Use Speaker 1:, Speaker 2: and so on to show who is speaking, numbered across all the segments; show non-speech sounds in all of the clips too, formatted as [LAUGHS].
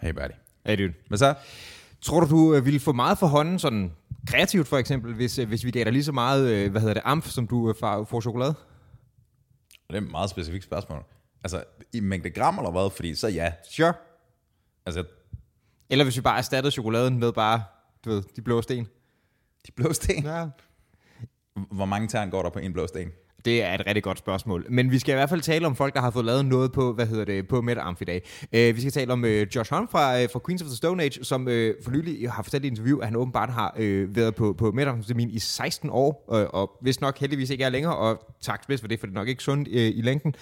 Speaker 1: Hey, buddy.
Speaker 2: Hey, dude.
Speaker 1: Hvad så?
Speaker 2: Tror du, du øh, ville få meget for hånden, sådan kreativt for eksempel, hvis, øh, hvis vi gav dig lige så meget, øh, hvad hedder det, amf, som du øh, får, får chokolade?
Speaker 1: Det er et meget specifikt spørgsmål. Altså, i mængde gram eller hvad? Fordi så ja.
Speaker 2: Sure.
Speaker 1: Altså,
Speaker 2: Eller hvis vi bare erstattede chokoladen med bare, du ved, de blå sten.
Speaker 1: de blå sten.
Speaker 2: Ja.
Speaker 1: Hvor mange tern går der på en blå sten?
Speaker 2: Det er et rigtig godt spørgsmål. Men vi skal i hvert fald tale om folk, der har fået lavet noget på, hvad hedder det, på Mette Amf i dag. Øh, vi skal tale om øh, Josh Homme fra, øh, fra Queens of the Stone Age, som øh, for nylig har fortalt i et interview, at han åbenbart har øh, været på, på Mette Amf i 16 år, øh, og hvis nok heldigvis ikke er længere, og tak spids for det, for det er nok ikke sundt øh, i længden,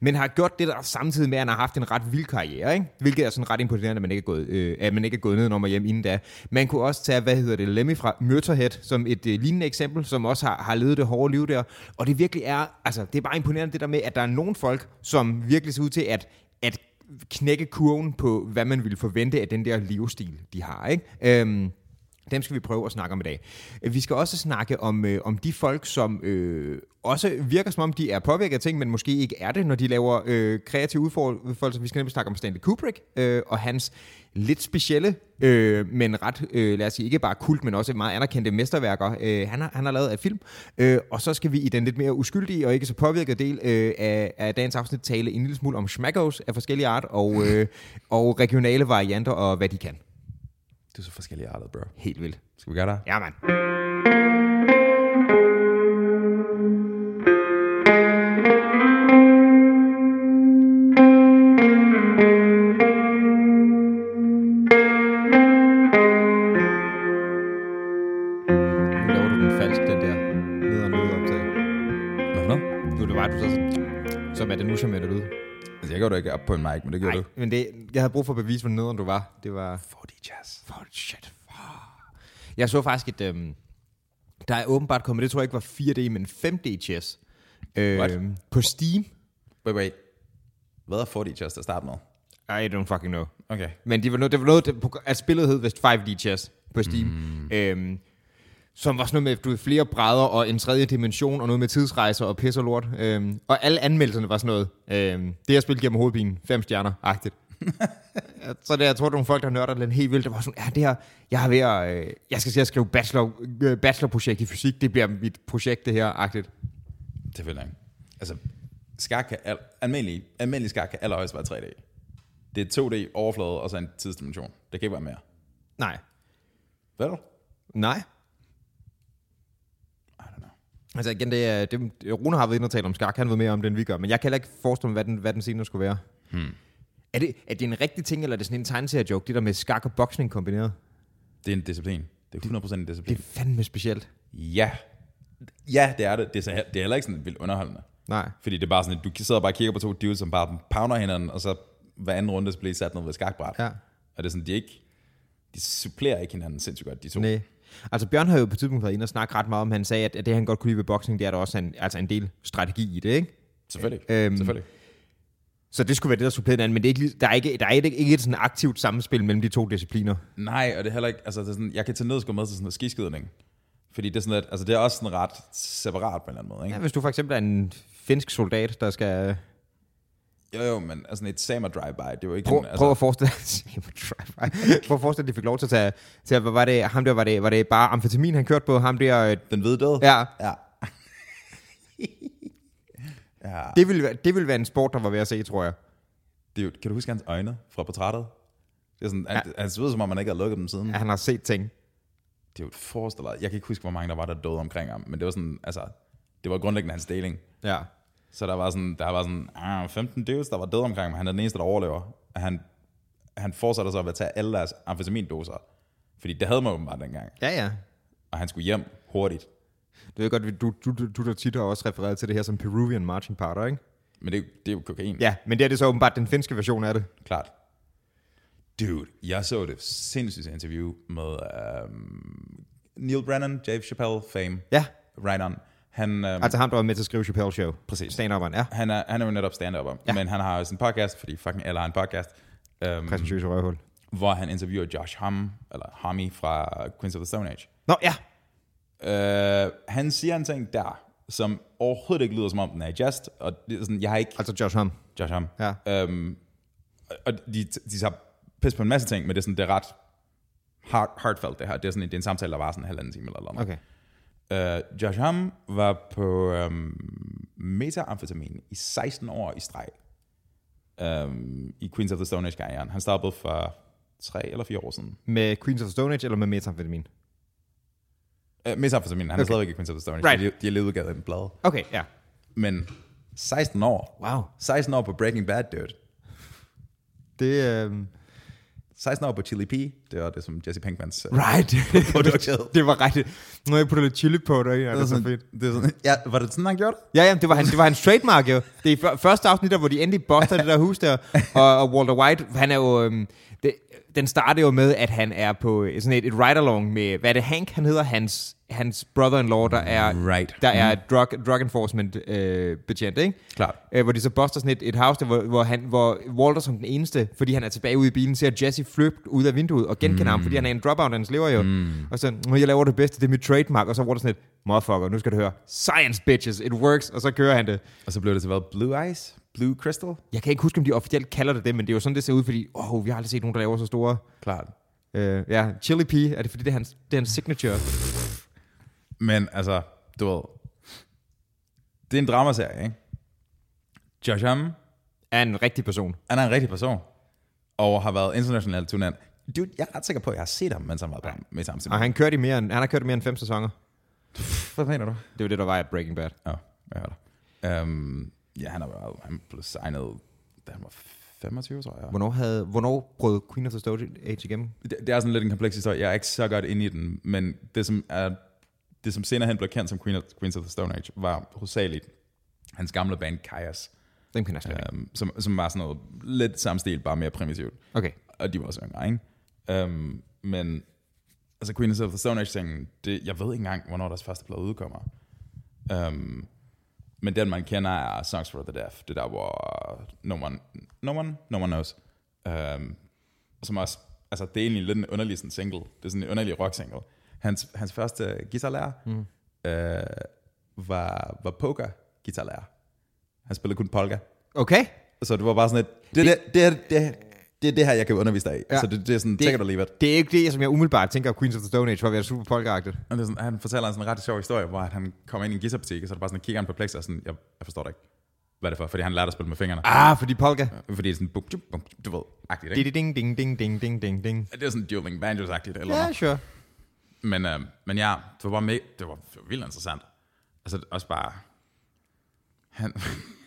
Speaker 2: men har gjort det der samtidig med, at han har haft en ret vild karriere, ikke? hvilket er sådan ret imponerende, at man ikke er gået, øh, at man ikke er gået ned og hjem inden da. Man kunne også tage, hvad hedder det, Lemmy fra Myrterhead, som et øh, lignende eksempel, som også har, har levet det hårde liv der, og det virkelig er, altså det er bare imponerende det der med, at der er nogle folk, som virkelig ser ud til at, at knække kurven på, hvad man ville forvente af den der livsstil, de har, ikke? Øhm, dem skal vi prøve at snakke om i dag. Øh, Vi skal også snakke om, øh, om de folk, som øh, også virker som om, de er påvirket af ting, men måske ikke er det, når de laver øh, kreative udfoldelser. Vi skal nemlig snakke om Stanley Kubrick øh, og hans lidt specielle, øh, men ret, øh, lad os sige, ikke bare kult, men også meget anerkendte mesterværker, øh, han, har, han har lavet af film. Øh, og så skal vi i den lidt mere uskyldige og ikke så påvirkede del øh, af, af dagens afsnit tale en lille smule om schmackos af forskellige art og, øh, og regionale varianter og hvad de kan.
Speaker 1: Du er så forskellige artet, bro.
Speaker 2: Helt vildt.
Speaker 1: Skal vi gøre det?
Speaker 2: Ja, mand. Nu laver du den falsk, den der ned og ned optag.
Speaker 1: Hvad for noget?
Speaker 2: Nu er det bare, du så sådan, som er det nu, som er det lyd.
Speaker 1: Altså, jeg går da ikke op på en mic, men det gjorde
Speaker 2: Nej,
Speaker 1: du.
Speaker 2: men det, jeg havde brug for at bevise, hvor nederen du var. Det var...
Speaker 1: 40 jazz.
Speaker 2: Fuck, shit. Fuck. Jeg så faktisk et... Øhm, der er åbenbart kommet, det tror jeg ikke var 4D, men 5D chess.
Speaker 1: What?
Speaker 2: Øhm, på Steam.
Speaker 1: Wait, wait. Hvad er 40 jazz til at starte med?
Speaker 2: I don't fucking know.
Speaker 1: Okay.
Speaker 2: Men det var noget, det var noget det, at spillet hed vist 5D chess på Steam. Mm. Øhm, som var sådan noget med, at du havde flere brædder og en tredje dimension og noget med tidsrejser og pis og lort. Øhm, og alle anmeldelserne var sådan noget. Øhm, det her spil giver mig hovedpine. Fem [LAUGHS] stjerner-agtigt. så det, jeg tror, det er nogle folk, der nørder den helt vildt. Det var sådan, ja, det her, jeg har ved at, øh, jeg skal til at skrive bachelor, øh, bachelorprojekt i fysik. Det bliver mit projekt, det her-agtigt.
Speaker 1: Det vil jeg ikke. Altså, skak kan al- almindelig, almindelig skak kan allerhøjst være 3D. Det er 2D overflade og så en tidsdimension. Det kan ikke være mere.
Speaker 2: Nej.
Speaker 1: Hvad du?
Speaker 2: Nej.
Speaker 1: I don't know.
Speaker 2: Altså igen, det er, det, Rune har været inde og tale om skak, han ved mere om det, end vi gør, men jeg kan heller ikke forestille mig, hvad den, hvad den senere skulle være. Hmm. Er, det, er det en rigtig ting, eller er det sådan en tegneserie-joke, det der med skak og boksning kombineret?
Speaker 1: Det er en disciplin. Det er 100% en
Speaker 2: Det
Speaker 1: disciplin.
Speaker 2: er fandme specielt.
Speaker 1: Ja. Ja, det er det. Det er, så, det er heller ikke sådan vildt underholdende.
Speaker 2: Nej.
Speaker 1: Fordi det er bare sådan, at du sidder og bare og kigger på to dudes, som bare pounder hinanden, og så hver anden runde så bliver de sat ned ved et skakbræt.
Speaker 2: Ja.
Speaker 1: Og det er sådan, de er ikke... De supplerer ikke hinanden sindssygt godt, de to.
Speaker 2: Nej. Altså Bjørn har jo på et tidspunkt været inde og snakke ret meget om, han sagde, at at det han godt kunne lide ved boksning, det er der også en, altså en del strategi i det, ikke?
Speaker 1: Selvfølgelig.
Speaker 2: Øhm,
Speaker 1: Selvfølgelig.
Speaker 2: Så det skulle være det, der supplerede hinanden, men det er ikke, lige- der er ikke, der er ikke, ikke et sådan aktivt samspil mellem de to discipliner.
Speaker 1: Nej, og det er heller ikke... Altså, det er sådan, jeg kan tage ned og med til sådan noget skiskydning. Fordi det er sådan lidt... Altså, det er også sådan ret separat på en eller anden måde,
Speaker 2: Ja,
Speaker 1: ikke?
Speaker 2: hvis du for eksempel er en finsk soldat, der skal
Speaker 1: Jo, jo, men altså, et samer drive-by, det er jo ikke...
Speaker 2: Prøv,
Speaker 1: en,
Speaker 2: altså.
Speaker 1: altså,
Speaker 2: prøv at forestille [LAUGHS] dig, prøv at forestille dig, at de fik lov til at tage, til at, hvad var det, ham der, var det, var det bare amfetamin, han kørte på, ham der, øh,
Speaker 1: Den hvide død?
Speaker 2: ja,
Speaker 1: Ja. [LAUGHS] ja.
Speaker 2: det ville, være- det ville være en sport, der var ved at se, tror jeg.
Speaker 1: Det er jo, kan du huske hans øjne fra portrættet? Det er sådan, ja. han, han ser ud, som om han ikke har lukket dem siden.
Speaker 2: At han har set ting.
Speaker 1: det er jo et forestiller. Jeg kan ikke huske, hvor mange der var, der døde omkring ham, men det var sådan, altså, det var grundlæggende hans deling.
Speaker 2: Ja.
Speaker 1: Så der var sådan, der var sådan ah, 15 dudes, der var døde omkring ham, han er den eneste, der overlever. Og han, han fortsatte så med at tage alle deres amfetamindoser, fordi det havde man åbenbart dengang,
Speaker 2: Ja, ja.
Speaker 1: og han skulle hjem hurtigt.
Speaker 2: Det er godt, at du, du, du, du der tit har også refereret til det her som Peruvian Marching Powder, ikke?
Speaker 1: Men det, er jo- det er jo kokain,
Speaker 2: Ja, men det er det så åbenbart den finske version af det.
Speaker 1: klart. Dude, jeg så det sindssygt interview med um, Neil Brennan, Dave Chappelle, fame,
Speaker 2: Ja,
Speaker 1: right on. Han, um,
Speaker 2: altså ham, der var med til at skrive Chappelle Show.
Speaker 1: Præcis.
Speaker 2: stand ja.
Speaker 1: han, er, han er jo netop stand-upper, ja. men han har også en podcast, fordi fucking alle har en podcast. Um,
Speaker 2: Præsentøs og røvhul.
Speaker 1: hvor han interviewer Josh Homme, eller Homme fra Queens of the Stone Age.
Speaker 2: Nå, ja.
Speaker 1: Uh, han siger en ting der, som overhovedet ikke lyder som om den er i jest, og det er sådan, jeg har ikke...
Speaker 2: Altså Josh Homme.
Speaker 1: Josh Homme.
Speaker 2: Ja.
Speaker 1: Um, og de, de tager pisse på en masse ting, men det er, sådan, det er ret hard, heartfelt det her. Det er, sådan, en- det er en samtale, der var sådan en halvanden time eller noget.
Speaker 2: Okay.
Speaker 1: Uh, Josh Ham var på um, metamfetamin i 16 år i streg um, i Queens of the Stone Age-karrieren. Han stoppede for tre eller fire år siden.
Speaker 2: Med Queens of the Stone Age eller med metamfetamin?
Speaker 1: Uh, metamfetamin, han okay. er stadigvæk i Queens of the Stone Age.
Speaker 2: Right.
Speaker 1: Right. De, de er levet udgavet af en blad.
Speaker 2: Okay, ja.
Speaker 1: Men 16 år.
Speaker 2: Wow.
Speaker 1: 16 år på Breaking Bad, dude.
Speaker 2: Det øh...
Speaker 1: 16 år på Chili P. Det var det, som Jesse Pinkmans... Uh,
Speaker 2: Right.
Speaker 1: Produktet.
Speaker 2: [LAUGHS] det var rigtigt. Nu har jeg puttet lidt chili på dig. Ja, det er så fedt.
Speaker 1: det er sådan, ja, var det sådan, han gjorde det?
Speaker 2: Ja, jamen, det var, han, det var hans trademark jo. Det er i før- første afsnit, der, hvor de endelig buster det der hus der. Og, og Walter White, han er jo... Øhm, det, den starter jo med, at han er på øh, sådan et, et ride-along med... Hvad er det, Hank han hedder? Hans, hans brother-in-law, der er,
Speaker 1: Right. Mm.
Speaker 2: der er drug, drug enforcement øh, betjent, ikke?
Speaker 1: Klart.
Speaker 2: Øh, hvor de så buster sådan et, et house, der, hvor, hvor, han, hvor Walter som den eneste, fordi han er tilbage ude i bilen, ser Jesse flygte ud af vinduet og genkender mm. ham, fordi han er en dropout, hans lever jo. Mm. Og så, "Nå, jeg laver det bedste, det er mit trademark. Og så er Walter sådan et, motherfucker, nu skal du høre, science bitches, it works. Og så kører han det.
Speaker 1: Og så blev det til hvad? Blue Eyes? Blue Crystal?
Speaker 2: Jeg kan ikke huske, om de officielt kalder det det, men det er jo sådan, det ser ud, fordi, åh, oh, vi har aldrig set nogen, der laver så store.
Speaker 1: Klart.
Speaker 2: Øh, ja, Chili P, er det fordi, det er hans, det er hans signature?
Speaker 1: Men altså, du ved... Det er en dramaserie, ikke? Josh Ham,
Speaker 2: Er en rigtig person.
Speaker 1: han er en rigtig person. Og har været international turnant. Dude, jeg er ret sikker på, at jeg har set ham, mens han var på med samme
Speaker 2: Og han, kørte i mere end, han har kørt i mere end fem sæsoner.
Speaker 1: Hvad mener du?
Speaker 2: Det var det, der var i Breaking Bad.
Speaker 1: Ja, jeg hører dig. Um, ja, han er været, han blev signet, da han var 25, tror jeg.
Speaker 2: Hvornår, havde, hvornår brød Queen of the Stone Age igennem?
Speaker 1: Det, det er sådan lidt en kompleks historie. Jeg er ikke så godt inde i den, men det som, er, det, som senere hen blev kendt som Queen of, Queens of the Stone Age, var hovedsageligt hans gamle band Kajas,
Speaker 2: Den kender jeg slet ikke.
Speaker 1: um, som, som var sådan noget lidt samme stil, bare mere primitivt.
Speaker 2: Okay.
Speaker 1: Og de var også yngre, ikke? Um, men altså Queen of the Stone Age-tingen, det, jeg ved ikke engang, hvornår deres første plade udkommer. Um, men den, man kender, er Songs for the Deaf. Det der, hvor no one, no one, no one knows. Um, som også, altså det er egentlig lidt en underlig sådan single. Det er sådan en underlig rock-single. Hans, hans første guitarlærer mm. øh, var, var poker-guitarlærer. Han spillede kun polka.
Speaker 2: Okay.
Speaker 1: Så det var bare sådan et, det, det, det, er- det, er- det er det her, jeg kan undervise dig i.
Speaker 2: Ja.
Speaker 1: Ja. Så det, det er sådan, det, take it or leave it.
Speaker 2: Det er ikke det, som jeg umiddelbart tænker, at Queens of the Stone Age var ved at være super polkagtigt.
Speaker 1: Og det er sådan, han fortæller en sådan ret sjov historie, hvor at han kommer ind i en guitarbutik, og så er der bare sådan, kigger han perpleks, og sådan, jeg, jeg forstår det ikke. Hvad er det for? Fordi han lærte at spille med fingrene.
Speaker 2: Ah, fordi polka.
Speaker 1: Fordi det er sådan, bum, tjum, bum, tjum, du ved, agtigt, ikke?
Speaker 2: Ding, ding, ding, ding, ding, ding, ding, ding.
Speaker 1: Det er sådan dueling banjos-agtigt, eller
Speaker 2: Ja,
Speaker 1: yeah.
Speaker 2: sure.
Speaker 1: men, øh, men ja, det var bare med, det var, det var vildt interessant. Altså også bare, han,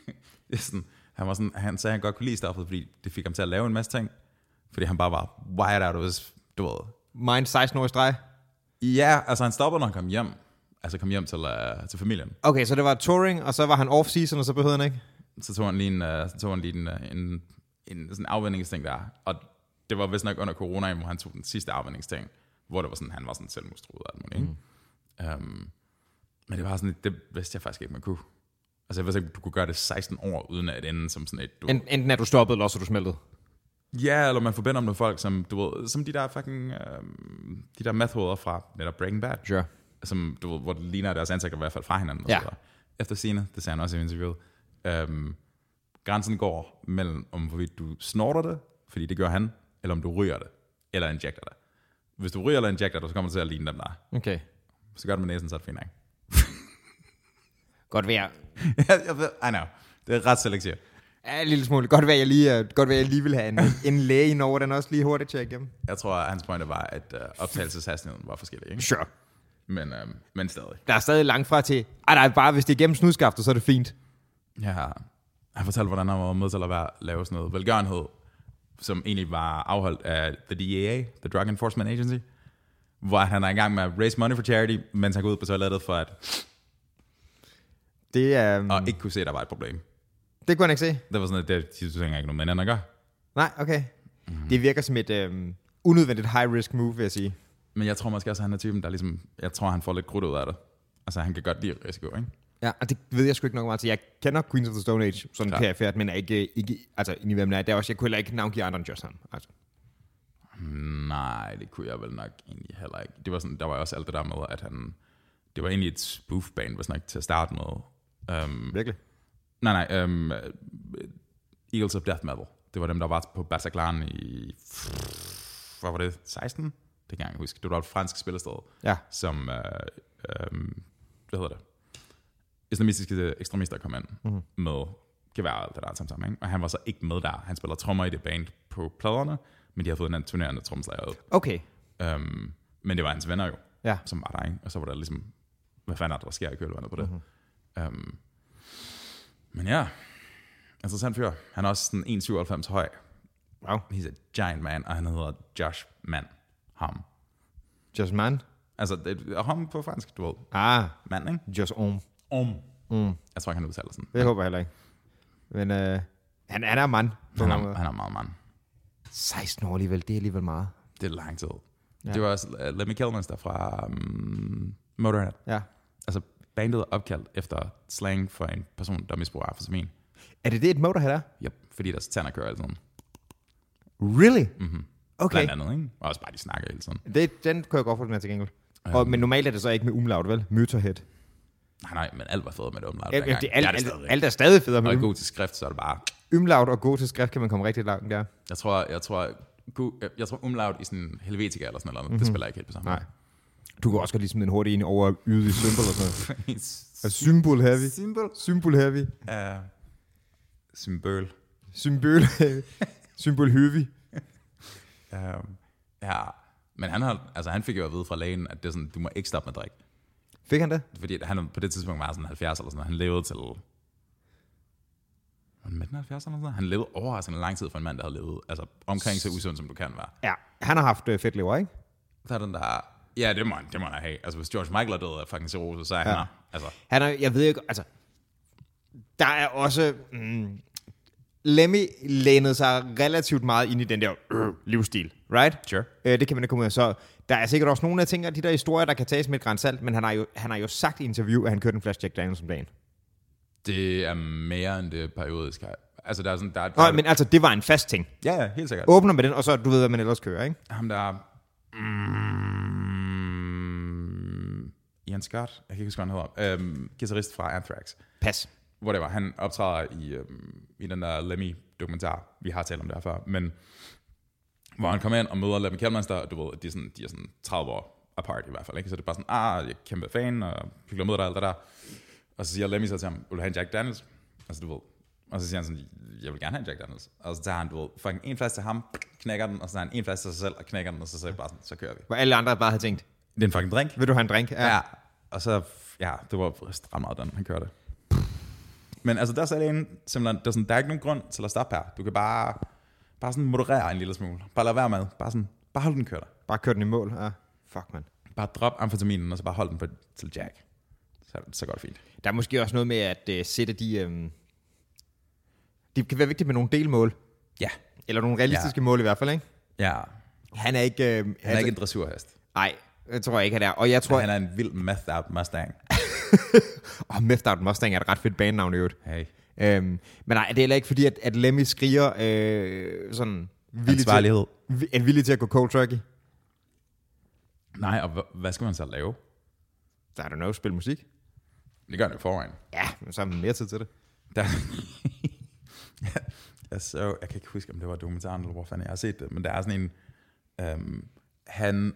Speaker 1: [LAUGHS] det er sådan, han, var sådan, han sagde, at han godt kunne lide stoffet, fordi det fik ham til at lave en masse ting. Fordi han bare var wired out of his, du ved,
Speaker 2: Mine 16 år i streg.
Speaker 1: Ja, altså han stoppede, når han kom hjem. Altså kom hjem til, uh, til familien.
Speaker 2: Okay, så det var touring, og så var han off-season, og så behøvede han ikke.
Speaker 1: Så tog han lige en, uh, så tog han lige en, uh, en, en sådan afvendingsting der. Og det var vist nok under corona, hvor han tog den sidste afvendingsting, hvor det var sådan, han var sådan selvmordstruet og alt muligt. Mm. Um, men det var sådan, det vidste jeg faktisk ikke, man kunne. Altså jeg vidste ikke, du kunne gøre det 16 år, uden at ende som sådan et... Du,
Speaker 2: En- Enten er du stoppet, eller også er du smeltet.
Speaker 1: ja, eller man forbinder ham med folk, som, du ved, som de der fucking... Um, de der meth fra netop Breaking Bad.
Speaker 2: Sure.
Speaker 1: som du ved, hvor det ligner at deres ansigter i hvert fald fra hinanden. og
Speaker 2: Ja.
Speaker 1: så videre. Efter scene, det sagde han også i interviewet, øhm, grænsen går mellem, om hvorvidt du snorter det, fordi det gør han, eller om du ryger det, eller injekter det. Hvis du ryger eller injekter det, så kommer du til at ligne dem der.
Speaker 2: Okay.
Speaker 1: Så gør det med næsen, så er det fint, ikke?
Speaker 2: Godt vejr.
Speaker 1: [LAUGHS] Jeg- jeg ved- I know. Det er ret selektivt.
Speaker 2: Ja, en lille smule. Godt vejr, jeg lige, øh, godt vejr, jeg lige vil have en, en læge ind over den også lige hurtigt tjekke igennem.
Speaker 1: Jeg tror, at hans pointe var, at øh, optagelseshastigheden var forskellig, ikke?
Speaker 2: Sure.
Speaker 1: Men, øh, men stadig.
Speaker 2: Der er stadig langt fra til, ah nej, bare hvis det er gennem snudskaftet, så er det fint.
Speaker 1: Jeg har, han fortalte, hvordan han var med til at være, lave sådan noget velgørenhed, som egentlig var afholdt af The DEA, The Drug Enforcement Agency, hvor han er i gang med at raise money for charity, mens han går ud på toilettet for at
Speaker 2: Det, er, um,
Speaker 1: og ikke kunne se, at der var et problem.
Speaker 2: det kunne han ikke se.
Speaker 1: Det var sådan, at det, de synes ikke noget med hinanden at gøre.
Speaker 2: Nej, okay. Mm-hmm. Det virker som et øhm, unødvendigt high-risk move, vil jeg sige.
Speaker 1: Men jeg tror måske også, at han er typen, der ligesom, jeg tror, han får lidt krudt ud af det. Altså, han kan godt lide risiko, ikke?
Speaker 2: Ja, og det ved jeg sgu ikke nok meget til. Jeg kender Queens of the Stone Age sådan
Speaker 1: Klart.
Speaker 2: perifært, men er ikke, ikke altså, i hvem den er. Det er også, jeg kunne heller ikke navngive andre end Just Ham. Altså.
Speaker 1: Nej, det kunne jeg vel nok egentlig heller ikke. Det var sådan, der var også alt det der med, at han... Det var egentlig et spoof-band, hvis nok, til at starte med. Um,
Speaker 2: Mm. Virkelig?
Speaker 1: Nej, nej. Um, øhm, Eagles of Death Metal. Det var dem, der var på Bataclan i... Hvad var det? 16? Det kan jeg ikke huske. Det var et fransk spillested,
Speaker 2: Ja.
Speaker 1: som... Øh, øh, hvad hedder det? Islamistiske ekstremister kom ind mm. med gevær og alt det der tam, tam, ikke? Og han var så ikke med der. Han spiller trommer i det band på pladerne, men de havde fået en anden turnerende trommeslager. ud.
Speaker 2: Okay.
Speaker 1: Øhm, men det var hans venner jo,
Speaker 2: Ja.
Speaker 1: som var der, ikke? Og så var der ligesom, hvad fanden er det, der sker i kølvandet på det?
Speaker 2: Mhm.
Speaker 1: Mm-hmm. Øhm, men ja, interessant fyr. Han er også sådan 1,97 høj.
Speaker 2: Wow.
Speaker 1: He's a giant man, og han hedder Josh Mann. Ham.
Speaker 2: Just man.
Speaker 1: Altså, det er ham på fransk, du ved.
Speaker 2: Ah,
Speaker 1: Mand, ikke?
Speaker 2: just om.
Speaker 1: Om. Mm. Jeg tror ikke, han udtaler det sådan.
Speaker 2: Det håber jeg heller ikke. Men øh, han, han er mand. På
Speaker 1: Han
Speaker 2: han
Speaker 1: er,
Speaker 2: måde.
Speaker 1: han er meget mand.
Speaker 2: 16 år alligevel, det er alligevel meget.
Speaker 1: Det er lang tid.
Speaker 2: Ja.
Speaker 1: Ja. Det var også uh, Lemmy Kilmans, der fra um, Motorhead.
Speaker 2: Ja.
Speaker 1: Altså, bandet er opkaldt efter slang for en person, der misbruger amfetamin.
Speaker 2: Er det det, et motorhead er?
Speaker 1: Yep, fordi deres tænder kører altid.
Speaker 2: Really?
Speaker 1: Mm-hmm.
Speaker 2: Okay.
Speaker 1: Blandt andet, ikke? Og også bare, de snakker hele tiden.
Speaker 2: Det, den kører jeg godt for, den her til gengæld.
Speaker 1: Øhm,
Speaker 2: Og, men normalt er det så ikke med umlaut, vel? Motorhead.
Speaker 1: Nej, nej, men alt var fedt med det omlaget.
Speaker 2: Alt,
Speaker 1: dengang.
Speaker 2: det, alt,
Speaker 1: er det
Speaker 2: alt,
Speaker 1: stadigvæk.
Speaker 2: alt, er stadig federe
Speaker 1: Og
Speaker 2: med
Speaker 1: i
Speaker 2: um,
Speaker 1: god til skrift, så er det bare...
Speaker 2: umlaut og god til skrift, kan man komme rigtig langt der.
Speaker 1: Jeg tror, jeg tror, gu- jeg- jeg tror umlaut i sådan Helvetica eller sådan noget, mm-hmm. det spiller ikke helt på samme [LAUGHS]
Speaker 2: Mhm. Nej. Du kan også godt lige smide en hurtig en over ydig symbol og sådan noget.
Speaker 1: måde.
Speaker 2: Og symbol heavy.
Speaker 1: Symbol.
Speaker 2: Symbol heavy.
Speaker 1: Uh, symbol.
Speaker 2: Symbol heavy. Symbol heavy.
Speaker 1: Uh, ja, men han, har, altså, han fik jo at vide fra lægen, at det er sådan, du må ikke stoppe med at drikke.
Speaker 2: Fik han det?
Speaker 1: Fordi han på det tidspunkt var sådan 70 eller sådan noget. Han levede til... Var han midten af 70'erne eller sådan noget? Han levede overraskende lang tid for en mand, der havde levet altså, omkring så usund, som du kan være.
Speaker 2: Ja. Han har haft øh, fedt lever, ikke?
Speaker 1: Så er den der... Ja, det må han, det må han have. Altså, hvis George Michael er død af fucking cirrhose, så er han
Speaker 2: Ja.
Speaker 1: her. Altså,
Speaker 2: Han er, jeg ved ikke, altså, der er også, mm, Lemmy lænede sig relativt meget ind i den der øh, livsstil, right?
Speaker 1: Sure.
Speaker 2: Øh, det kan man ikke komme ud af. Så der er sikkert også nogle af tingene, de der historier, der kan tages med et græns salt, men han har, jo, han har jo sagt i interview, at han kørte en flaske Jack Daniels om dagen.
Speaker 1: det er mere end det periodiske. Altså, der er sådan... Der, er- der,
Speaker 2: Nå, men altså, det var en fast ting.
Speaker 1: Ja, ja, helt sikkert.
Speaker 2: Åbner med den, og så du ved, hvad man ellers kører, ikke?
Speaker 1: Ham der... Mm, Ian Scott, jeg kan ikke huske, hvad han hedder. Øhm, guitarist fra Anthrax.
Speaker 2: Pas.
Speaker 1: hvor det var, han optræder i, øhm, i den der Lemmy-dokumentar, vi har talt om der før, men hvor han kommer ind og møder Lemmy Kellmans, der, du ved, de er, sådan, de er sådan 30 år apart i hvert fald, ikke? så det er bare sådan, ah, jeg er kæmpe fan, og hyggeligt at møde dig, og alt det der. Og så siger Lemmy så til ham, vil du have en Jack Daniels? Altså, du ved. Og så siger han sådan, jeg vil gerne have en Jack Daniels. Og så tager han, du ved, fucking en flaske til ham, knækker den, og så tager han en flaske til sig selv, og knækker den, og så siger jeg bare sådan, så kører vi.
Speaker 2: Hvor alle andre bare havde tænkt,
Speaker 1: Det er en fucking drink.
Speaker 2: vil du have en drink? Ja.
Speaker 1: Ja, og så, ja, det var stramt meget, den han kørte. Men altså, der sagde en simpelthen, der, er sådan, der er ikke nogen grund til at stoppe her. Du kan bare, bare sådan moderere en lille smule. Bare lade være med. Bare, sådan, bare hold den kørt.
Speaker 2: Bare kør den i mål. Ja. Fuck, man.
Speaker 1: Bare drop amfetaminen, og så bare hold den på, til Jack. Så, er det- så går det fint.
Speaker 2: Der er måske også noget med at øh, sætte de... Øh, det kan være vigtigt med nogle delmål.
Speaker 1: Ja.
Speaker 2: Eller nogle realistiske ja. mål i hvert fald, ikke?
Speaker 1: Ja. Han
Speaker 2: Han er ikke... Øh,
Speaker 1: er ikke en dressurhest.
Speaker 2: Nej, det tror jeg ikke, han er. Og jeg tror...
Speaker 1: Han er en vild meth out Mustang.
Speaker 2: Åh, oh, Meth Out Mustang er et ret fedt banenavn i øvrigt.
Speaker 1: Hey.
Speaker 2: Øhm, men nej, det er heller ikke fordi, at, at Lemmy skriger øh, sådan... Villig til,
Speaker 1: Ansvarlighed.
Speaker 2: vi- er villig til at gå cold turkey.
Speaker 1: Nej, og hva- hvad skal man så lave?
Speaker 2: Der er du nok spille musik.
Speaker 1: Det gør han jo foran.
Speaker 2: Ja, men så har man mere tid til det.
Speaker 1: Der... [LAUGHS] jeg så, jeg kan ikke huske, om det var dokumentaren, eller hvor fanden jeg har set det, men der er sådan en, øhm, han,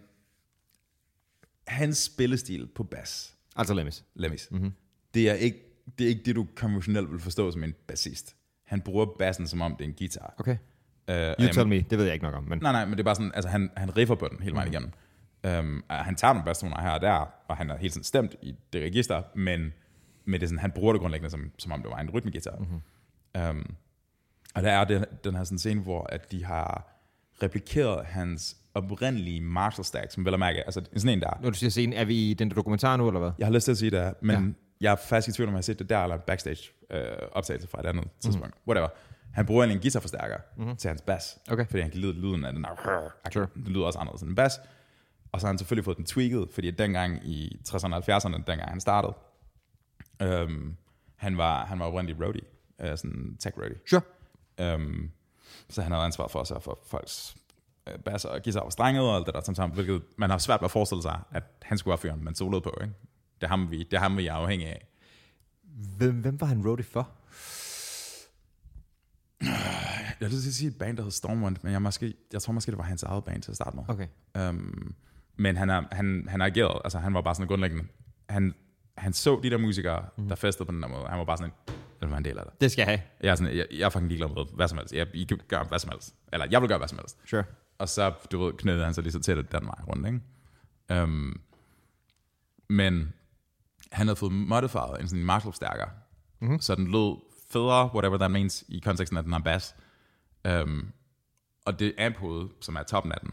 Speaker 1: hans spillestil på bas,
Speaker 2: Altså Lemmys.
Speaker 1: Lemmys, mm-hmm. det, er ikke, det er ikke det, du konventionelt vil forstå som en bassist. Han bruger bassen, som om det er en guitar.
Speaker 2: Okay.
Speaker 1: Øh, og
Speaker 2: You
Speaker 1: jeg-
Speaker 2: tell me. Det ved jeg ikke nok om, men...
Speaker 1: Nej, nej, men det er bare sådan, altså han, han riffer på den hele vejen igennem. Øhm, og han tager nogle basstoner her og der, og han er helt sådan stemt i det register, men, men det er sådan, han bruger det grundlæggende, som, som om det var en rytmegitar. Mm-hmm. Øhm, og der er den, den her sådan scene, hvor at de har replikeret hans oprindelige Marshall Stack, som vel at mærke, altså sådan en der,
Speaker 2: Når du siger scenen, er vi i den der dokumentar nu, eller hvad?
Speaker 1: jeg har lyst til at sige det, er, men ja. jeg er faktisk i tvivl om, at jeg har set det der, eller en backstage øh, optagelse fra et andet tidspunkt. Mm-hmm. Whatever. Han bruger egentlig en guitarforstærker mm-hmm. til hans bas,
Speaker 2: Okay.
Speaker 1: fordi han kan lide lyden af den der,
Speaker 2: Sure.
Speaker 1: den lyder også anderledes end en bas. Og så har han selvfølgelig fået den tweaked, fordi dengang i 60'erne og 70'erne, dengang han startede, øhm, han var, han var oprindelig roadie, øh, sådan tech roadie.
Speaker 2: Sure.
Speaker 1: Øhm, så han havde ansvar for at sørge for folks øh, basser og guitar og strenget og alt det der som sammen, hvilket man har svært ved at forestille sig, at han skulle være fyren, man solede på, ikke? Det er ham, vi, det er ham, vi er afhængige af.
Speaker 2: Hvem, hvem var han roadie for?
Speaker 1: Jeg vil sige et band, der hed Stormwind, men jeg, måske, jeg tror måske, det var hans eget band til at starte med.
Speaker 2: Okay.
Speaker 1: Øhm, men han, er, han, han agerede, altså han var bare sådan grundlæggende, han, han så de der musikere, mm. der festede på den der måde, han var bare sådan, en, det var en del af det.
Speaker 2: Det skal jeg have.
Speaker 1: Jeg er, sådan, jeg, jeg er fucking ligeglad med hvad som helst. Jeg, I kan gøre hvad som helst. Eller jeg vil gøre hvad som helst.
Speaker 2: Sure.
Speaker 1: Og så, du ved, knædede han sig lige så tæt den vej rundt, ikke? Um, men han havde fået modified en sådan en Marshall-stærker, mm-hmm. så den lød federe, whatever that means, i konteksten af den her bass. Um, og det amp som er toppen af den,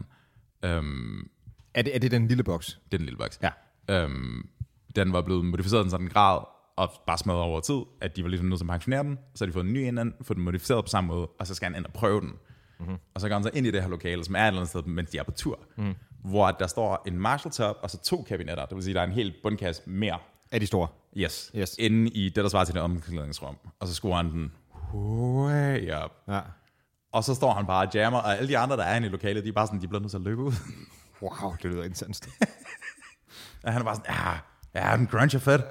Speaker 1: um,
Speaker 2: Er det, er det den lille boks?
Speaker 1: det er den lille boks.
Speaker 2: Ja.
Speaker 1: Øhm, den var blevet modificeret i en sådan grad, og bare smadret over tid, at de var ligesom nødt til at pensionere den, så har de fået en ny ind, anden, fået den modificeret på samme måde, og så skal han ind og prøve den. Mm-hmm. Og så går han så ind i det her lokale, som er et eller andet sted, mens de er på tur, mm. hvor der står en Marshall-top, og så to kabinetter, det vil sige, der er en hel bundkasse mere,
Speaker 2: Er de store?
Speaker 1: yes,
Speaker 2: Yes.
Speaker 1: inde i det, der svarer til det omklædningsrum, og så skruer han den way up.
Speaker 2: Ja.
Speaker 1: Og så står han bare og jammer, og alle de andre, der er inde i lokalet, de er bare sådan, de bliver nødt til at løbe ud. [LAUGHS]
Speaker 2: Wow, det lyder intenst.
Speaker 1: og han er bare sådan, ja, ja, den grunge er fedt.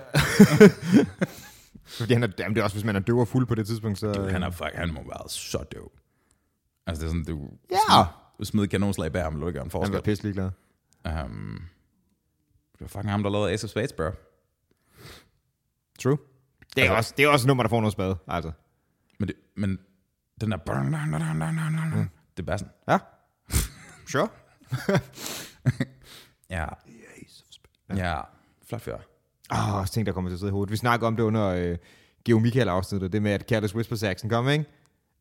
Speaker 2: Fordi han er, jamen, det er også, hvis man er døv og fuld på det tidspunkt, så...
Speaker 1: Dude, han, er, fuck, han må have været så døv. Altså, det er sådan, du,
Speaker 2: Ja.
Speaker 1: smed, du smed kanonslag bag ham, og du gør en
Speaker 2: han
Speaker 1: forskel.
Speaker 2: var pisselig glad.
Speaker 1: Um, det var fucking ham, der lavede Ace of Spades, bro.
Speaker 2: True. Det er,
Speaker 1: Altså-
Speaker 2: også, det er også et nummer, der får noget spade, altså.
Speaker 1: Men, det, men den der... Det er bare sådan...
Speaker 2: [LAUGHS] Ja. Sure.
Speaker 1: Ja. Ja. Flot fyr.
Speaker 2: Åh, oh, ting, der kommer til at sidde i hovedet. Vi snakker om det under øh, Geo Michael afsnittet, det med, at Careless Whisper Saxon kom, ikke?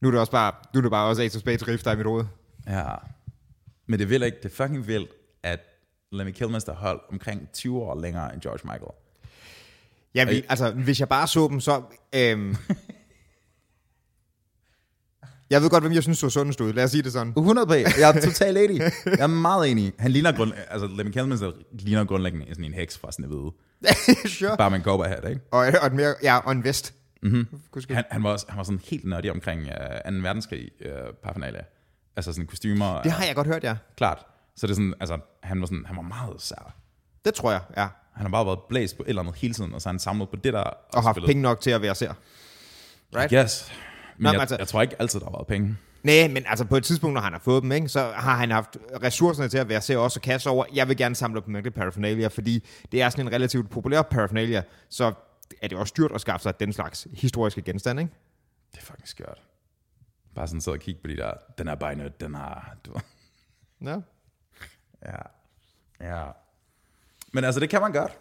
Speaker 2: Nu er det også bare, nu er det bare også Ace of Spades riff, der er i mit hoved.
Speaker 1: Ja. Men det er vildt ikke. Det er fucking vildt, at Lemmy Kilmister holdt omkring 20 år længere end George Michael.
Speaker 2: Ja, vi, altså, hvis jeg bare så dem, så... Øhm, [LAUGHS] jeg ved godt, hvem jeg synes så sundest ud. Lad os sige
Speaker 1: [LAUGHS]
Speaker 2: det sådan.
Speaker 1: 100 p. Jeg er totalt [LAUGHS] enig. Jeg er meget enig. Han ligner grund... Altså, Lemmy Kilmister ligner grundlæggende sådan en heks fra Snevide.
Speaker 2: sure.
Speaker 1: Bare med en cowboyhat, ikke?
Speaker 2: Og, og, en mere, ja, og en vest. Mm-hmm.
Speaker 1: Han, han, var også, han var sådan helt nørdig omkring øh, 2. verdenskrig øh, paraphernalia. Altså sådan kostymer,
Speaker 2: Det
Speaker 1: ja.
Speaker 2: har jeg godt hørt, ja.
Speaker 1: klart. Så det er sådan, altså, han var sådan, han var meget sær.
Speaker 2: Det tror jeg, ja.
Speaker 1: Han har bare været blæst på et eller andet hele tiden, og så har han samlet på det der.
Speaker 2: Og haft penge nok til at være ser. right?
Speaker 1: Yes. Men
Speaker 2: Nå,
Speaker 1: Nå,
Speaker 2: men
Speaker 1: jeg,
Speaker 2: altså-
Speaker 1: altså... jeg, tror ikke altid, der har været penge.
Speaker 2: Nej, men altså på et tidspunkt, når han har fået dem, ikke, så har han haft ressourcerne til at være ser også og kasse over. Jeg vil gerne samle op på mængde paraphernalia, fordi det er sådan en relativt populær paraphernalia, så er det også dyrt at skaffe sig den slags historiske genstande, ikke?
Speaker 1: Det er fucking skørt. Bare sådan sidde og kigge på de der, den er bare nødt, den har... Du... ved.
Speaker 2: Ja.
Speaker 1: Ja. Ja. Men altså, det kan man godt.